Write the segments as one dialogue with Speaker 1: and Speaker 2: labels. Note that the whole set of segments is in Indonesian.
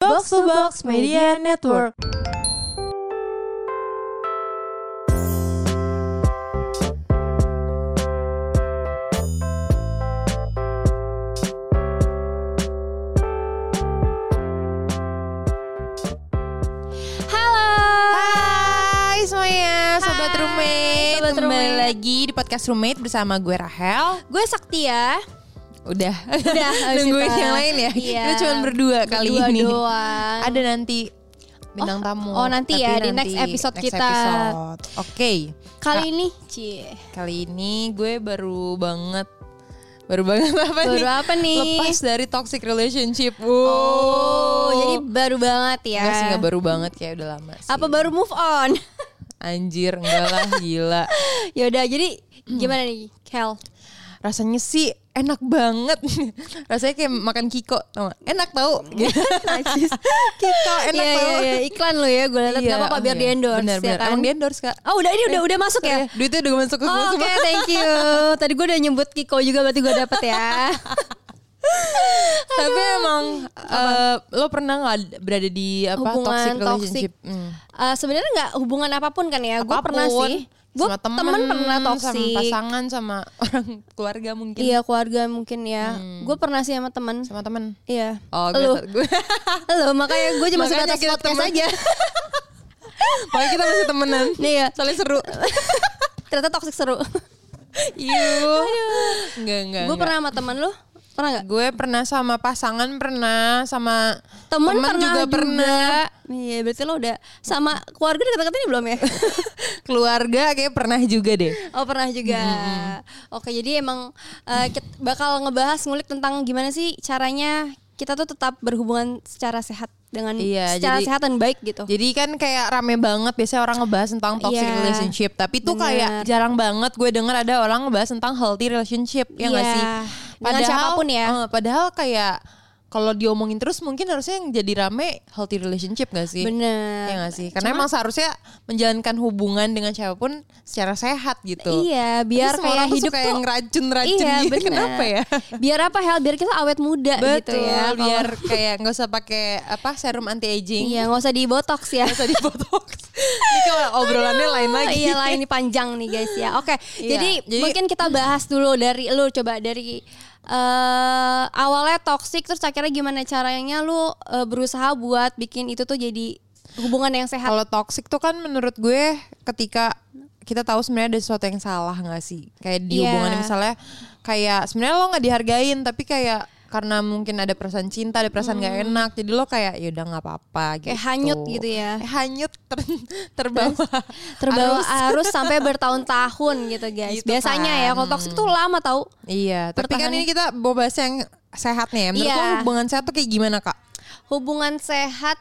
Speaker 1: Box to Box Media Network.
Speaker 2: Halo,
Speaker 3: Hai semuanya, sobat
Speaker 2: Hai,
Speaker 3: roommate.
Speaker 2: sobat
Speaker 3: Kembali
Speaker 2: roommate.
Speaker 3: lagi di podcast roommate bersama gue Rahel.
Speaker 2: gue Saktia.
Speaker 3: Udah,
Speaker 2: Udah, habis
Speaker 3: nungguin
Speaker 2: kita.
Speaker 3: yang lain ya.
Speaker 2: Nah, Iya.
Speaker 3: Kita cuma berdua kali
Speaker 2: Berdua
Speaker 3: ini.
Speaker 2: doang.
Speaker 3: Ada nanti bintang tamu.
Speaker 2: oh, nanti
Speaker 3: Tapi
Speaker 2: ya, di next episode kita.
Speaker 3: episode. Oke,
Speaker 2: Kali ini, cie.
Speaker 3: kali ini gue baru banget baru banget apa nih?
Speaker 2: Baru apa nih?
Speaker 3: Lepas dari toxic relationship.
Speaker 2: Oh,
Speaker 3: Wuh.
Speaker 2: jadi baru banget ya.
Speaker 3: Enggak sih, enggak baru banget kayak udah lama sih.
Speaker 2: Apa baru move on?
Speaker 3: Anjir, enggak lah, gila.
Speaker 2: Yaudah, jadi
Speaker 3: Hmm.
Speaker 2: gimana nih, Kel?
Speaker 3: rasanya sih enak banget rasanya kayak makan kiko tau nggak? enak tau
Speaker 2: Najis.
Speaker 3: kiko enak
Speaker 2: Iya,
Speaker 3: tau
Speaker 2: iya, iya. iklan lo ya, gue liat
Speaker 3: Iya,
Speaker 2: nggak apa-apa
Speaker 3: oh
Speaker 2: biar
Speaker 3: iya.
Speaker 2: di endorse
Speaker 3: bener,
Speaker 2: ya
Speaker 3: bener.
Speaker 2: kan?
Speaker 3: emang di endorse kak
Speaker 2: Oh udah ini udah udah masuk ya?
Speaker 3: duitnya udah masuk ke gue
Speaker 2: Oh, Oke,
Speaker 3: semua
Speaker 2: thank you. Tadi gue udah nyebut Kiko juga berarti gue dapet ya.
Speaker 3: tapi emang eh, lo pernah nggak berada di apa
Speaker 2: Hubungan
Speaker 3: toxic
Speaker 2: toxic.
Speaker 3: relationship Hmm.
Speaker 2: Eh, Sebenarnya nggak hubungan apapun kan ya? Gue
Speaker 3: Apapun.
Speaker 2: pernah sih. Gue
Speaker 3: Sama
Speaker 2: temen, pernah
Speaker 3: sama
Speaker 2: toksik.
Speaker 3: pasangan sama orang keluarga mungkin
Speaker 2: Iya keluarga mungkin ya. Gue pernah sih sama temen.
Speaker 3: sama temen
Speaker 2: Iya.
Speaker 3: Hmm. oh
Speaker 2: Lu.
Speaker 3: gue, gue
Speaker 2: Lo makanya gue cuma suka
Speaker 3: Makanya
Speaker 2: atas
Speaker 3: kita
Speaker 2: podcast
Speaker 3: temen.
Speaker 2: aja.
Speaker 3: makanya kita masih temenan
Speaker 2: Nih ya.
Speaker 3: soalnya seru
Speaker 2: Ternyata toxic seru. Iya.
Speaker 3: Iyu. Enggak, enggak.
Speaker 2: gue pernah sama temen lu? Pernah nggak?
Speaker 3: Gue pernah sama pasangan pernah sama temen
Speaker 2: Temen, pernah
Speaker 3: juga pernah
Speaker 2: Iya berarti lo udah sama keluarga deket-deket ini belum ya?
Speaker 3: keluarga kayak pernah juga deh.
Speaker 2: oh pernah juga. Oke jadi emang eh, kit- bakal ngebahas ngulik tentang gimana sih caranya kita tuh tetap berhubungan secara sehat dengan
Speaker 3: Iya,
Speaker 2: secara
Speaker 3: jadi-
Speaker 2: sehat dan baik gitu.
Speaker 3: Jadi kan kayak rame banget biasanya orang ngebahas tentang toxic
Speaker 2: Iya,
Speaker 3: relationship, tapi tuh
Speaker 2: bener.
Speaker 3: kayak jarang banget gue denger ada orang ngebahas tentang healthy relationship ya nggak
Speaker 2: Iya,
Speaker 3: sih?
Speaker 2: dengan siapapun ya.
Speaker 3: eh, padahal kayak kalau diomongin terus mungkin harusnya yang jadi rame healthy relationship gak sih?
Speaker 2: Bener.
Speaker 3: Ya gak sih? Karena emang seharusnya menjalankan hubungan dengan siapapun secara sehat gitu.
Speaker 2: Iya,
Speaker 3: Tapi
Speaker 2: biar
Speaker 3: semua
Speaker 2: kayak
Speaker 3: orang tuh
Speaker 2: hidup
Speaker 3: suka
Speaker 2: tuh
Speaker 3: yang racun-racun
Speaker 2: iya,
Speaker 3: gitu.
Speaker 2: bener.
Speaker 3: Kenapa ya?
Speaker 2: Biar apa Hel? Biar kita awet muda gitu
Speaker 3: Betul,
Speaker 2: ya. kalau-
Speaker 3: biar kayak nggak usah pakai apa serum anti aging.
Speaker 2: Iya, nggak usah di botox ya.
Speaker 3: Nggak usah di botox. Ini kalau obrolannya lain lagi.
Speaker 2: Iya lah ini panjang nih guys ya. Oke,
Speaker 3: Iya,
Speaker 2: jadi,
Speaker 3: jadi-
Speaker 2: mungkin kita bahas dulu dari lu coba dari eh awalnya toxic terus akhirnya gimana caranya lu eh, berusaha buat bikin itu tuh jadi hubungan yang sehat.
Speaker 3: Kalau toxic tuh kan menurut gue ketika kita tahu sebenarnya ada sesuatu yang salah nggak sih? Kayak di
Speaker 2: Iya.
Speaker 3: hubungannya misalnya kayak sebenarnya lo nggak dihargain tapi kayak karena mungkin ada perasaan cinta, ada perasaan nggak enak, jadi lo kayak ya udah nggak apa-apa gitu.
Speaker 2: Hmm. Kayak hanyut gitu ya.
Speaker 3: Kayak hanyut ter- terbawa
Speaker 2: Terbawa
Speaker 3: arus.
Speaker 2: arus sampai bertahun-tahun gitu guys.
Speaker 3: Gitu
Speaker 2: Biasanya ya
Speaker 3: kan.
Speaker 2: kalau toxic tuh lama tau.
Speaker 3: Iya, tapi kan
Speaker 2: Pertahanannya.
Speaker 3: ini kita mau bahas yang sehat nih ya. Menurut
Speaker 2: Iya.
Speaker 3: lo hubungan sehat tuh kayak gimana kak?
Speaker 2: hubungan sehat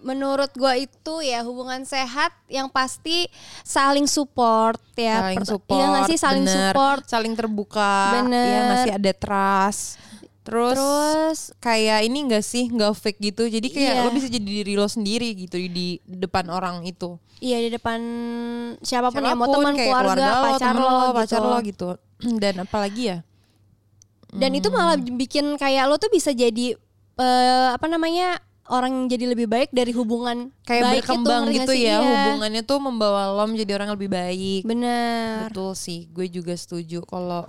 Speaker 2: menurut gua itu ya hubungan sehat yang pasti saling support ya
Speaker 3: saling
Speaker 2: Perta-
Speaker 3: support,
Speaker 2: iya nggak sih saling
Speaker 3: bener.
Speaker 2: support
Speaker 3: saling terbuka,
Speaker 2: Bener.
Speaker 3: iya nggak sih ada trust. Terus,
Speaker 2: Terus-
Speaker 3: kayak ini enggak sih nggak fake gitu. Jadi kayak
Speaker 2: Iya.
Speaker 3: lo bisa jadi diri lo sendiri gitu di depan orang itu.
Speaker 2: iya di depan siapapun, ya mau
Speaker 3: Siapapun,
Speaker 2: teman
Speaker 3: kayak
Speaker 2: keluarga, pacar
Speaker 3: temen
Speaker 2: lo,
Speaker 3: pacar
Speaker 2: gitu.
Speaker 3: lo gitu. Dan apalagi ya?
Speaker 2: dan
Speaker 3: Hmm.
Speaker 2: itu malah bikin kayak lo tuh bisa jadi eh, apa namanya orang yang jadi lebih baik dari hubungan
Speaker 3: Kayak
Speaker 2: baik
Speaker 3: berkembang
Speaker 2: itu, ngerti nggak
Speaker 3: gitu
Speaker 2: sih?
Speaker 3: ya
Speaker 2: Iya.
Speaker 3: hubungannya tuh membawa lo menjadi orang yang lebih baik.
Speaker 2: bener
Speaker 3: Betul sih, gue juga setuju kalau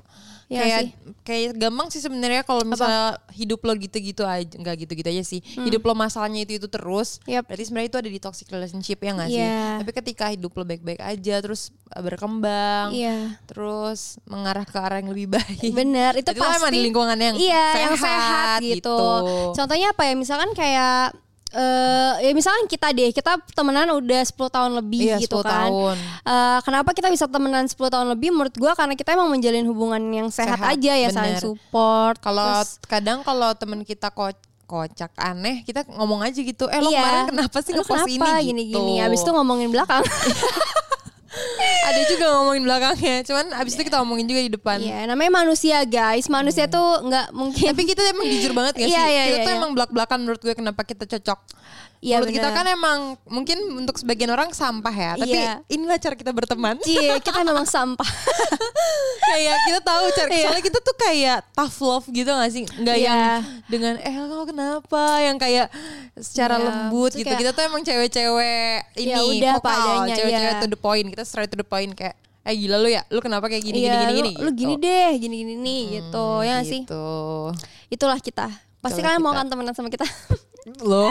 Speaker 2: Iya
Speaker 3: kayak
Speaker 2: sih.
Speaker 3: kayak gampang sih sebenarnya kalau misalnya hidup lo gitu-gitu aja, nggak gitu-gitu aja sih. Hidup lo masalahnya itu itu terus.
Speaker 2: Hmm. Yap.
Speaker 3: Berarti sebenarnya itu ada di toxic relationship ya nggak sih?
Speaker 2: Iya.
Speaker 3: Tapi ketika hidup lo baik-baik aja, terus eh, berkembang,
Speaker 2: Iya.
Speaker 3: terus mengarah ke arah yang lebih baik.
Speaker 2: Bener, itu
Speaker 3: Jadi lo kan emang
Speaker 2: pasti.
Speaker 3: di lingkungan yang
Speaker 2: iya,
Speaker 3: sehat,
Speaker 2: yang sehat gitu.
Speaker 3: gitu.
Speaker 2: Contohnya apa ya? Misalkan kayak eh ya misalkan kita deh, kita temenan udah 10 tahun lebih
Speaker 3: Iya, 10
Speaker 2: gitu kan.
Speaker 3: tahun.
Speaker 2: Eh, kenapa kita bisa temenan 10 tahun lebih? Menurut gua karena kita emang menjalin hubungan yang sehat,
Speaker 3: Sehat,
Speaker 2: aja ya,
Speaker 3: bener.
Speaker 2: saling support.
Speaker 3: Kalau
Speaker 2: terus-
Speaker 3: kadang kalau temen kita ko- kocak aneh, kita ngomong aja gitu. Eh lo
Speaker 2: Iya.
Speaker 3: kemarin kenapa sih
Speaker 2: Lu
Speaker 3: ngepost ini? Gitu.
Speaker 2: kenapa? Gini-gini. Abis itu ngomongin belakang.
Speaker 3: ada juga ngomongin belakangnya. Cuman abis itu kita ngomongin juga di depan.
Speaker 2: Iya, namanya manusia guys. Manusia tuh nggak mungkin.
Speaker 3: Iya. Tapi kita emang jujur banget gak sih?
Speaker 2: Iya, iya,
Speaker 3: kita
Speaker 2: iya,
Speaker 3: tuh
Speaker 2: iya.
Speaker 3: emang belak-belakan menurut gue kenapa kita cocok.
Speaker 2: Iya,
Speaker 3: menurut kita
Speaker 2: bener.
Speaker 3: kan emang mungkin untuk sebagian orang sampah ya. Tapi
Speaker 2: Iya.
Speaker 3: inilah cara kita berteman.
Speaker 2: Cie, Iya, kita memang sampah.
Speaker 3: kayak kita tahu cara
Speaker 2: Iya.
Speaker 3: soalnya kita tuh kayak tough love gitu gak sih nggak
Speaker 2: Iya.
Speaker 3: yang dengan eh kamu kenapa yang kayak secara
Speaker 2: Iya,
Speaker 3: lembut
Speaker 2: maksudnya
Speaker 3: gitu
Speaker 2: kayak-
Speaker 3: kita tuh emang cewek-cewek ini
Speaker 2: Ya udah,
Speaker 3: vokal,
Speaker 2: padanya,
Speaker 3: cewek-cewek
Speaker 2: iya.
Speaker 3: to the point kita straight to the point kayak eh gila lu ya lu kenapa kayak gini
Speaker 2: Iya,
Speaker 3: gini gini
Speaker 2: lu,
Speaker 3: gini
Speaker 2: lu gini deh, gini gini nih gitu. Ya nggak sih?
Speaker 3: gitu
Speaker 2: Itulah kita. Pasti
Speaker 3: Itulah
Speaker 2: kalian mau
Speaker 3: kita.
Speaker 2: kan temenan sama kita?
Speaker 3: loh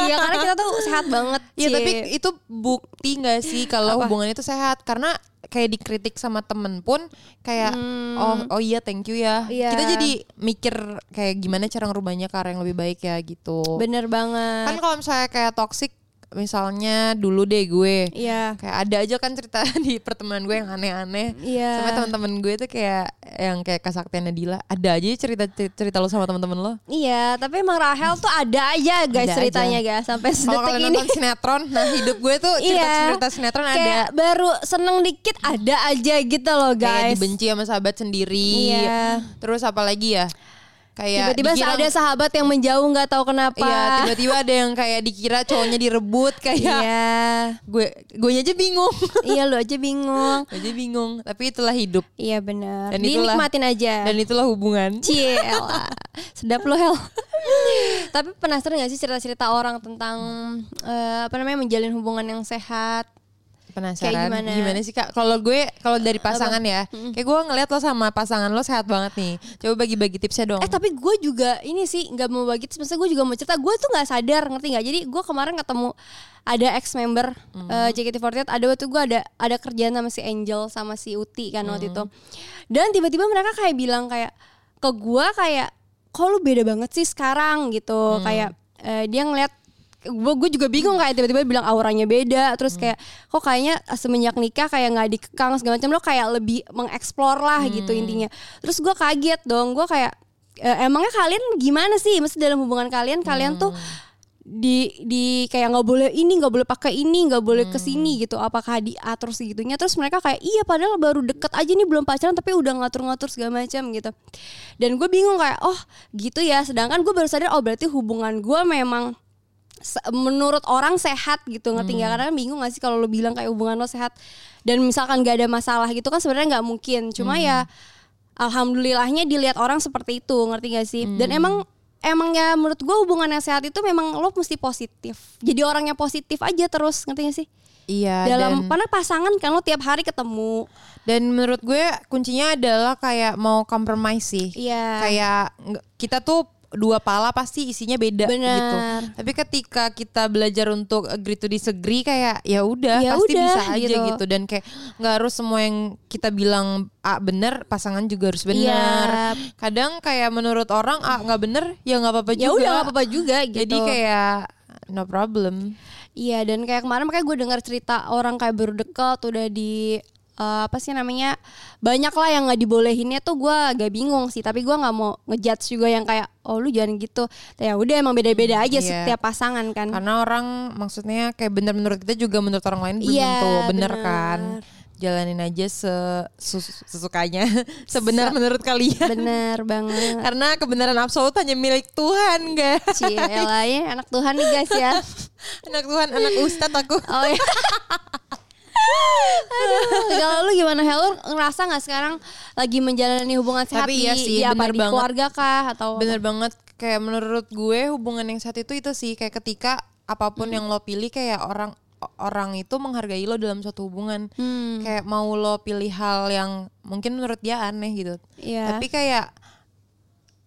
Speaker 2: Iya, karena kita tuh sehat banget.
Speaker 3: Iya
Speaker 2: Cie.
Speaker 3: tapi itu bukti gak sih kalau hubungannya itu sehat karena kayak dikritik sama temen pun kayak oh oh iya thank you ya
Speaker 2: Hmm. Iya.
Speaker 3: kita jadi mikir kayak gimana cara ngerubahnya ke arah yang lebih baik ya gitu
Speaker 2: bener
Speaker 3: kan
Speaker 2: banget.
Speaker 3: kalau misalnya kayak toxic misalnya dulu deh gue
Speaker 2: Iya.
Speaker 3: kayak ada aja kan cerita di pertemanan gue yang aneh-aneh
Speaker 2: Iya.
Speaker 3: sama teman-teman gue tuh kayak yang kayak kesaktiannya Dila ada aja cerita cerita lo sama teman-teman lo
Speaker 2: Iya, tapi emang Rahel tuh ada aja guys
Speaker 3: Ada
Speaker 2: ceritanya
Speaker 3: aja.
Speaker 2: guys sampai
Speaker 3: kalau
Speaker 2: sedetik
Speaker 3: kalian
Speaker 2: ini. Iya.
Speaker 3: nonton sinetron nah hidup gue tuh cerita-cerita sinetron ada
Speaker 2: Kayak baru seneng dikit ada aja gitu loh
Speaker 3: kayak
Speaker 2: guys.
Speaker 3: dibenci sama sahabat sendiri.
Speaker 2: Iya.
Speaker 3: Terus apa lagi ya? Kayak
Speaker 2: Tiba-tiba
Speaker 3: dikira-
Speaker 2: ada sahabat yang menjauh nggak tahu kenapa.
Speaker 3: Iya, tiba-tiba ada yang kayak dikira cowoknya direbut
Speaker 2: Iya.
Speaker 3: kayak gue gue aja bingung.
Speaker 2: Iya lu aja bingung.
Speaker 3: gue aja bingung, tapi itulah hidup.
Speaker 2: Iya benar.
Speaker 3: Dan itulah-
Speaker 2: Dinikmatin aja.
Speaker 3: Dan itulah hubungan.
Speaker 2: Cie, elah. sedap lo Hel. Tapi penasaran gak sih cerita-cerita orang tentang eh, apa namanya menjalin hubungan yang sehat? Kayak
Speaker 3: Penasaran
Speaker 2: gimana?
Speaker 3: gimana? sih Kak? Kalau gue kalau dari pasangan ya, kayak gue ngeliat lo sama pasangan lo sehat banget nih. Coba bagi-bagi tipsnya dong.
Speaker 2: Eh tapi gue juga ini sih nggak mau bagi, maksudnya gue juga mau cerita. Gue tuh nggak sadar ngerti nggak? Jadi gue kemarin ketemu ada ex member eh, JKT48. Ada waktu gue ada ada kerjaan sama si Angel sama si Uti kan waktu itu. Dan tiba-tiba mereka kayak bilang kayak ke gue kayak, kok lu beda banget sih sekarang gitu. Kayak eh, dia ngeliat gue gue juga bingung kayak tiba-tiba bilang auranya beda terus kayak kok kayaknya semenjak nikah kayak nggak dikekang segala macam lo kayak lebih mengeksplor lah gitu intinya terus gue kaget dong gue kayak "E, emangnya kalian gimana sih mesti dalam hubungan kalian kalian tuh di di kayak nggak boleh ini nggak boleh pakai ini nggak boleh kesini gitu apakah diatur segitunya terus mereka kayak iya padahal baru deket aja nih belum pacaran tapi udah ngatur-ngatur segala macam gitu dan gue bingung kayak oh gitu ya sedangkan gue baru sadar oh berarti hubungan gue memang se- menurut orang sehat gitu ngerti
Speaker 3: Hmm.
Speaker 2: nggak karena bingung gak sih kalau lo bilang kayak hubungan lo sehat dan misalkan gak ada masalah gitu kan sebenarnya nggak mungkin cuma ya
Speaker 3: Hmm.
Speaker 2: alhamdulillahnya dilihat orang seperti itu ngerti gak sih dan emang emang ya menurut gue hubungan yang sehat itu memang lo mesti positif jadi orang yang positif aja terus ngerti gak sih
Speaker 3: iya, dan-
Speaker 2: dalam karena pasangan kan lo tiap hari ketemu
Speaker 3: Dan menurut gue kuncinya adalah kayak mau compromise sih.
Speaker 2: Iya.
Speaker 3: Kayak nge- kita tuh dua pala pasti isinya beda
Speaker 2: Benar.
Speaker 3: gitu. Tapi ketika kita belajar untuk agree to disagree kayak ya udah
Speaker 2: Ya
Speaker 3: pasti
Speaker 2: udah,
Speaker 3: bisa aja
Speaker 2: gitu.
Speaker 3: gitu. dan kayak nggak harus semua yang kita bilang A bener pasangan juga harus benar. Kadang kayak menurut orang A nggak bener ya nggak apa-apa juga.
Speaker 2: ya udah nggak apa-apa juga gitu
Speaker 3: Jadi kayak no problem.
Speaker 2: Iya dan kayak kemarin makanya gue dengar cerita orang kayak baru deket udah di eh, apa sih namanya banyak lah yang nggak dibolehinnya tuh gue agak bingung sih tapi gue nggak mau ngejudge juga yang kayak oh lu jangan gitu ya udah emang beda-beda
Speaker 3: Iya.
Speaker 2: aja setiap pasangan kan
Speaker 3: Karena orang maksudnya kayak bener menurut kita juga menurut orang lain belum
Speaker 2: Iya,
Speaker 3: tuh bener,
Speaker 2: bener.
Speaker 3: kan. Jalanin aja se- sus- sesukanya, sebenar menurut kalian.
Speaker 2: bener banget
Speaker 3: Karena kebenaran absolut hanya milik Tuhan, guys.
Speaker 2: Cie, lain anak Tuhan nih guys ya
Speaker 3: Anak Tuhan, anak Ustadz aku.
Speaker 2: Oh iya. Aduh, kalau lu gimana Hel, lu ngerasa nggak sekarang lagi menjalani hubungan sehat
Speaker 3: Tapi iya
Speaker 2: di,
Speaker 3: sih,
Speaker 2: di apa,
Speaker 3: bener
Speaker 2: di
Speaker 3: banget.
Speaker 2: keluarga kah atau
Speaker 3: Bener banget. Kayak menurut gue hubungan yang saat itu itu sih kayak ketika apapun
Speaker 2: Mm.
Speaker 3: yang lo pilih kayak orang orang itu menghargai lo dalam suatu hubungan.
Speaker 2: Hmm, Mm.
Speaker 3: Kayak mau lo pilih hal yang mungkin menurut dia aneh gitu.
Speaker 2: Iya.
Speaker 3: Tapi kayak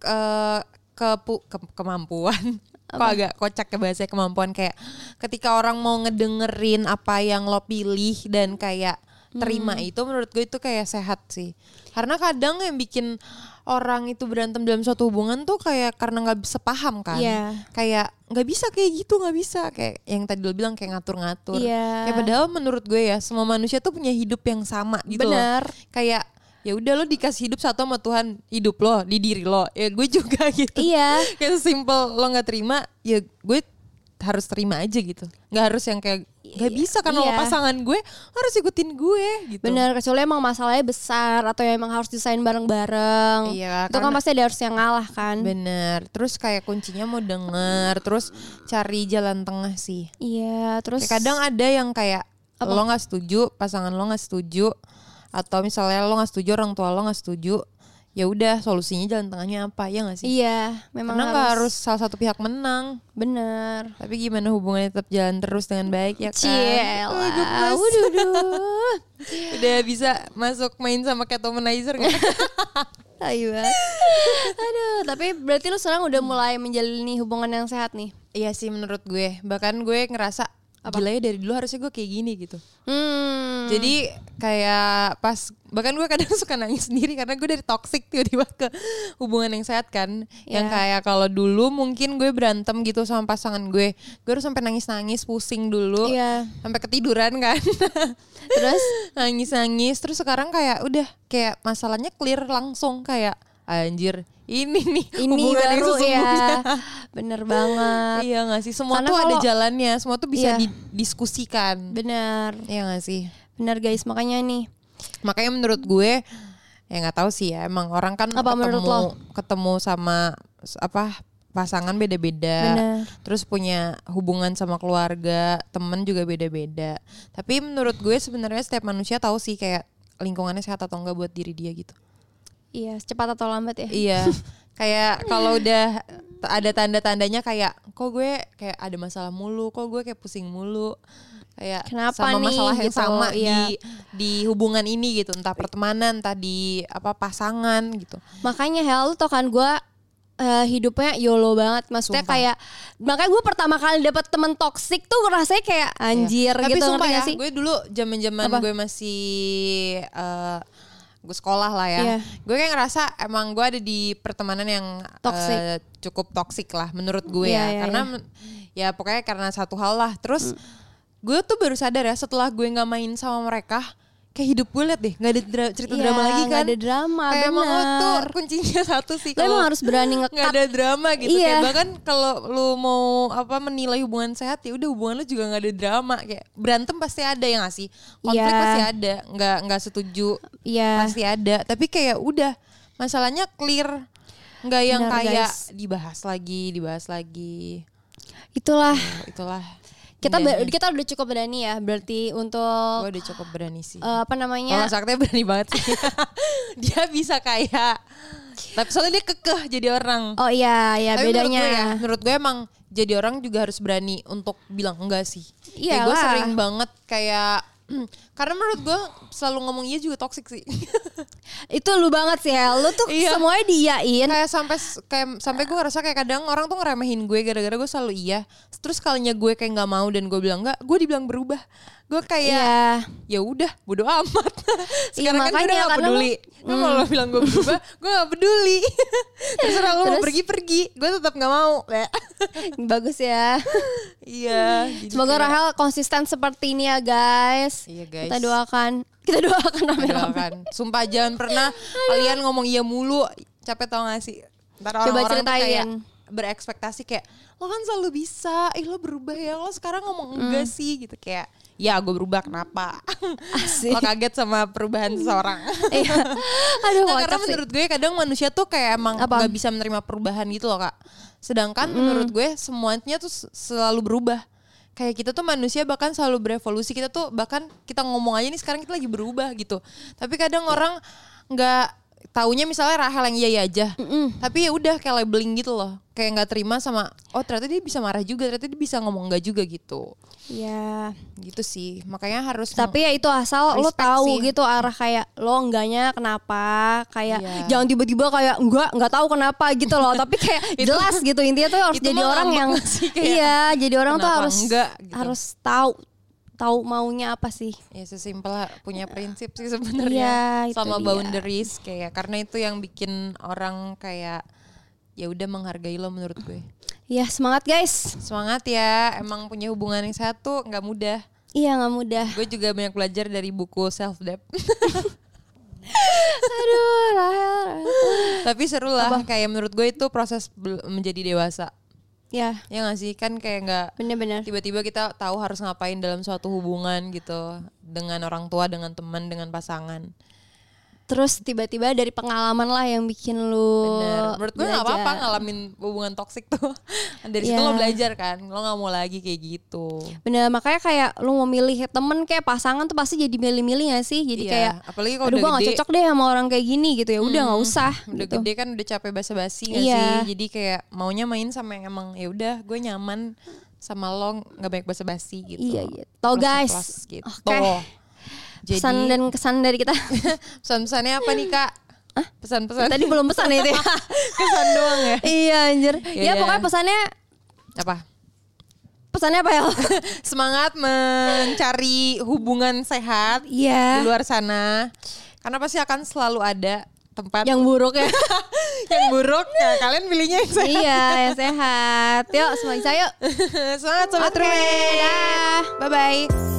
Speaker 3: eh, kepu- ke, kemampuan kok agak kocak ke bahasa kemampuan kayak ketika orang mau ngedengerin apa yang lo pilih dan kayak terima
Speaker 2: Hmm.
Speaker 3: itu menurut gue itu kayak sehat sih karena kadang yang bikin orang itu berantem dalam suatu hubungan tuh kayak karena nggak bisa paham kan
Speaker 2: Iya.
Speaker 3: kayak nggak bisa kayak gitu nggak bisa kayak yang tadi lo bilang kayak ngatur-ngatur
Speaker 2: Iya.
Speaker 3: ya padahal menurut gue ya semua manusia tuh punya hidup yang sama gitu loh.
Speaker 2: Benar.
Speaker 3: kayak ya udah lo dikasih hidup satu sama Tuhan hidup lo di diri lo ya gue juga gitu
Speaker 2: Iya.
Speaker 3: kayak simple lo nggak terima ya gue harus terima aja gitu nggak harus yang kayak nggak bisa karena lo
Speaker 2: Iya.
Speaker 3: pasangan gue harus ikutin gue gitu
Speaker 2: Bener, kecuali emang masalahnya besar atau ya emang harus desain bareng-bareng.
Speaker 3: Iya,
Speaker 2: Itu kan
Speaker 3: karena-
Speaker 2: pasti ada harus yang ngalah kan.
Speaker 3: bener terus kayak kuncinya mau denger terus cari jalan tengah sih
Speaker 2: Iya, terus
Speaker 3: Kayak Ya, kadang ada yang kayak lo nggak setuju pasangan lo nggak setuju atau misalnya lo nggak setuju orang tua lo nggak setuju ya udah solusinya jalan tengahnya apa ya nggak sih
Speaker 2: iya, memang
Speaker 3: karena nggak harus salah satu pihak menang
Speaker 2: bener.
Speaker 3: tapi gimana hubungannya tetap jalan terus dengan baik ya kan
Speaker 2: Ciela.
Speaker 3: Oh, gemes.
Speaker 2: Waduh, aduh.
Speaker 3: udah bisa masuk main sama catomanizer nggak
Speaker 2: Tai banget. Aduh, tapi berarti lu sekarang udah mulai menjalani hubungan yang sehat nih.
Speaker 3: iya sih menurut gue bahkan gue ngerasa Gila ya dari dulu harusnya gue kayak gini gitu
Speaker 2: Hmm.
Speaker 3: Jadi kayak pas bahkan gue kadang suka nangis sendiri karena gue dari toxic tiba-tiba ke hubungan yang sehat kan. Yang
Speaker 2: Iya.
Speaker 3: kayak kalau dulu mungkin gue berantem gitu sama pasangan gue, gue harus sampai nangis-nangis, pusing dulu,
Speaker 2: Iya.
Speaker 3: sampai ketiduran kan.
Speaker 2: Terus
Speaker 3: nangis-nangis terus sekarang kayak udah kayak masalahnya clear langsung kayak anjir ini nih
Speaker 2: ini
Speaker 3: hubungan yang
Speaker 2: baru
Speaker 3: sesungguhnya.
Speaker 2: ya. Bener banget.
Speaker 3: Iya gak sih? Semua
Speaker 2: Karena
Speaker 3: tuh ada
Speaker 2: kalau-
Speaker 3: jalannya, semua tuh bisa
Speaker 2: Iya.
Speaker 3: didiskusikan.
Speaker 2: Bener.
Speaker 3: Iya gak sih?
Speaker 2: Bener guys, makanya nih.
Speaker 3: makanya menurut gue ya nggak tahu sih ya emang orang kan
Speaker 2: Apa menurut
Speaker 3: ketemu ketemu sama s- apa pasangan beda-beda
Speaker 2: Bener.
Speaker 3: terus punya hubungan sama keluarga temen juga beda-beda tapi menurut gue sebenarnya setiap manusia tahu sih kayak lingkungannya sehat atau enggak buat diri dia gitu
Speaker 2: Iya, cepat atau lambat ya.
Speaker 3: iya kayak kalau udah t- ada tanda-tandanya kayak kok gue kayak ada masalah mulu kok gue kayak pusing mulu kayak
Speaker 2: Kenapa
Speaker 3: sama
Speaker 2: nih,
Speaker 3: masalah yang
Speaker 2: gitu,
Speaker 3: sama
Speaker 2: iya.
Speaker 3: di di hubungan ini gitu entah pertemanan entah di apa pasangan gitu
Speaker 2: Makanya Hel, lu tau kan gue hidupnya YOLO banget Maksudnya
Speaker 3: Sumpah.
Speaker 2: kayak Makanya gue pertama kali dapet temen toksik tuh rasanya kayak anjir
Speaker 3: Iya. tapi
Speaker 2: gitu
Speaker 3: sumpah
Speaker 2: ngerti
Speaker 3: ya
Speaker 2: gak sih?
Speaker 3: gue dulu zaman zaman
Speaker 2: Apa?
Speaker 3: gue masih eh, gue sekolah lah ya
Speaker 2: Iya.
Speaker 3: gue kayak ngerasa emang gue ada di pertemanan yang
Speaker 2: Toxic.
Speaker 3: eh, cukup toksik lah menurut gue
Speaker 2: Iya,
Speaker 3: ya
Speaker 2: iya, Hmm.
Speaker 3: karena men- ya pokoknya karena satu hal lah terus gue tuh baru sadar ya setelah gue nggak main sama mereka kayak hidup gue liat deh nggak ada dra- cerita
Speaker 2: Iya,
Speaker 3: drama lagi
Speaker 2: nggak
Speaker 3: kan
Speaker 2: ada drama,
Speaker 3: kayak emang lo tuh
Speaker 2: bener.
Speaker 3: kuncinya satu sih
Speaker 2: Lo emang
Speaker 3: kalau-
Speaker 2: harus berani
Speaker 3: nggak
Speaker 2: ngekat
Speaker 3: ada drama gitu
Speaker 2: Iya.
Speaker 3: kayak bahkan kalau lu mau apa menilai hubungan sehat ya udah hubungan lu juga nggak ada drama kayak berantem pasti ada ya nggak sih konflik
Speaker 2: Iya.
Speaker 3: pasti ada nggak nggak setuju
Speaker 2: Iya
Speaker 3: pasti ada tapi kayak udah masalahnya clear nggak yang
Speaker 2: Benar,
Speaker 3: kayak
Speaker 2: guys.
Speaker 3: dibahas lagi dibahas lagi
Speaker 2: Itulah
Speaker 3: Oh, itulah
Speaker 2: kita
Speaker 3: Indahnya.
Speaker 2: ber- kita udah cukup berani ya berarti
Speaker 3: Gua
Speaker 2: untuk
Speaker 3: udah cukup berani sih
Speaker 2: eh, apa
Speaker 3: Kalau
Speaker 2: namanya
Speaker 3: sakitnya berani banget sih dia bisa kayak tapi soalnya dia kekeh jadi orang
Speaker 2: oh iya ya
Speaker 3: Tapi
Speaker 2: bedanya
Speaker 3: menurut gue, ya, menurut gue emang jadi orang juga harus berani untuk bilang enggak sih. Iya. gue
Speaker 2: Iyalah.
Speaker 3: sering banget kayak karena menurut gue selalu ngomong iya juga toksik sih.
Speaker 2: itu lu banget sih Hel lu tuh
Speaker 3: Iya.
Speaker 2: semuanya diiyain
Speaker 3: kayak sampai kayak sampai gue ngerasa kayak kadang orang tuh ngeremehin gue gara-gara gue selalu iya. Terus kalinya gue kayak nggak mau dan gue bilang enggak, gue dibilang berubah. Gue kayak
Speaker 2: iya
Speaker 3: ya udah bodo amat. Sekarang kan gue
Speaker 2: makanya,
Speaker 3: udah gak
Speaker 2: karena lu-
Speaker 3: peduli.
Speaker 2: Hmm.
Speaker 3: Lu mau lo bilang gue berubah, gue gak peduli. Terserah lu mau pergi-pergi, gue tetap gak mau.
Speaker 2: bagus ya
Speaker 3: iya. jadi
Speaker 2: semoga
Speaker 3: kayak-
Speaker 2: Rahel konsisten seperti ini ya guys
Speaker 3: Iya, guys.
Speaker 2: kita doakan kita doakan
Speaker 3: Doakan.
Speaker 2: rame-rame
Speaker 3: Iya kan. Sumpah jangan pernah kalian ngomong iya mulu. Capek tau gak sih? Ntar
Speaker 2: Coba
Speaker 3: orang-orang tuh kayak
Speaker 2: ceritain.
Speaker 3: berekspektasi kayak lo kan selalu bisa, ih lo berubah ya, lo sekarang
Speaker 2: Mm.
Speaker 3: ngomong enggak sih gitu kayak ya gue berubah kenapa?
Speaker 2: Asik.
Speaker 3: lo kaget sama perubahan seseorang.
Speaker 2: Iya. Aduh,
Speaker 3: Nah,
Speaker 2: kocak
Speaker 3: karena
Speaker 2: sih.
Speaker 3: menurut gue kadang manusia tuh kayak emang
Speaker 2: Apa? Hmm.
Speaker 3: nggak bisa menerima perubahan gitu loh kak. Sedangkan menurut gue semuanya tuh s- selalu berubah. Kayak kita tuh manusia bahkan selalu berevolusi. Kita tuh bahkan kita ngomong aja nih sekarang kita lagi berubah gitu. Tapi kadang orang nggak taunya misalnya Rahel yang iya iya aja. Tapi ya udah kayak labeling gitu loh. Kayak nggak terima sama oh ternyata dia bisa marah juga, ternyata dia bisa ngomong enggak juga gitu.
Speaker 2: Ya,
Speaker 3: Gitu sih. Makanya harus
Speaker 2: tapi ya itu asal lo
Speaker 3: Respect
Speaker 2: tahu
Speaker 3: sih.
Speaker 2: gitu arah kayak lo enggaknya kenapa, kayak
Speaker 3: Iya.
Speaker 2: jangan tiba-tiba kayak enggak enggak tahu kenapa gitu loh, tapi kayak jelas gitu intinya tuh harus
Speaker 3: itu
Speaker 2: jadi
Speaker 3: mah
Speaker 2: orang
Speaker 3: ngambek
Speaker 2: yang
Speaker 3: gak sih? Kayak,
Speaker 2: iya, jadi orang tuh
Speaker 3: kenapa
Speaker 2: harus
Speaker 3: enggak gitu.
Speaker 2: harus tahu tahu maunya apa sih.
Speaker 3: Ya sesimpel lah, punya prinsip sih sebenarnya
Speaker 2: Iya, itu
Speaker 3: sama
Speaker 2: dia.
Speaker 3: boundaries kayak karena itu yang bikin orang kayak ya udah menghargai lo menurut gue.
Speaker 2: Ya semangat guys.
Speaker 3: Semangat ya, emang punya hubungan yang satu nggak mudah.
Speaker 2: Iya nggak mudah.
Speaker 3: Gue juga banyak belajar dari buku self debt.
Speaker 2: Aduh, Rahel. Rahel.
Speaker 3: Tapi seru lah kayak menurut gue itu proses bel- menjadi dewasa.
Speaker 2: ya
Speaker 3: Ya nggak sih kan kayak nggak
Speaker 2: bener-bener
Speaker 3: tiba-tiba kita tahu harus ngapain dalam suatu hubungan gitu dengan orang tua, dengan teman, dengan pasangan.
Speaker 2: terus tiba-tiba dari pengalaman lah yang bikin lu
Speaker 3: Bener. Menurut gue nggak
Speaker 2: belajar.
Speaker 3: apa-apa ngalamin hubungan toksik tuh. Dari situ
Speaker 2: Iya.
Speaker 3: lo belajar kan, lo nggak mau lagi kayak gitu.
Speaker 2: bener makanya kayak lu mau milih temen kayak pasangan tuh pasti jadi milih-milih gak sih jadi
Speaker 3: Iya,
Speaker 2: kayak
Speaker 3: apalagi kalau
Speaker 2: aduh
Speaker 3: udah
Speaker 2: gue gak
Speaker 3: gede, Hmm,
Speaker 2: cocok deh sama orang kayak gini gitu ya udah nggak usah
Speaker 3: udah
Speaker 2: gitu
Speaker 3: gede kan udah capek basa-basi nggak
Speaker 2: Iya.
Speaker 3: sih? Jadi kayak maunya main sama yang emang ya udah gue nyaman sama lo nggak banyak basa-basi gitu.
Speaker 2: iya gitu tau
Speaker 3: Plus to
Speaker 2: guys
Speaker 3: plus gitu.
Speaker 2: oke
Speaker 3: Jadi
Speaker 2: pesan dan kesan dari kita
Speaker 3: pesan-pesannya apa nih kak? Pesan-pesan
Speaker 2: tadi belum pesan ya itu ya
Speaker 3: kesan doang ya?
Speaker 2: iya anjir
Speaker 3: Ya
Speaker 2: ya
Speaker 3: udah.
Speaker 2: pokoknya pesannya
Speaker 3: Apa?
Speaker 2: pesannya apa ya
Speaker 3: Semangat mencari hubungan sehat
Speaker 2: iya
Speaker 3: di luar sana. Karena pasti akan selalu ada tempat
Speaker 2: yang buruk ya
Speaker 3: yang buruk. Nah, kalian pilihnya yang sehat.
Speaker 2: iya yang sehat yuk semuanya yuk
Speaker 3: Semangat sobat
Speaker 2: Oke,
Speaker 3: Rumen.
Speaker 2: dadah.
Speaker 3: Bye bye.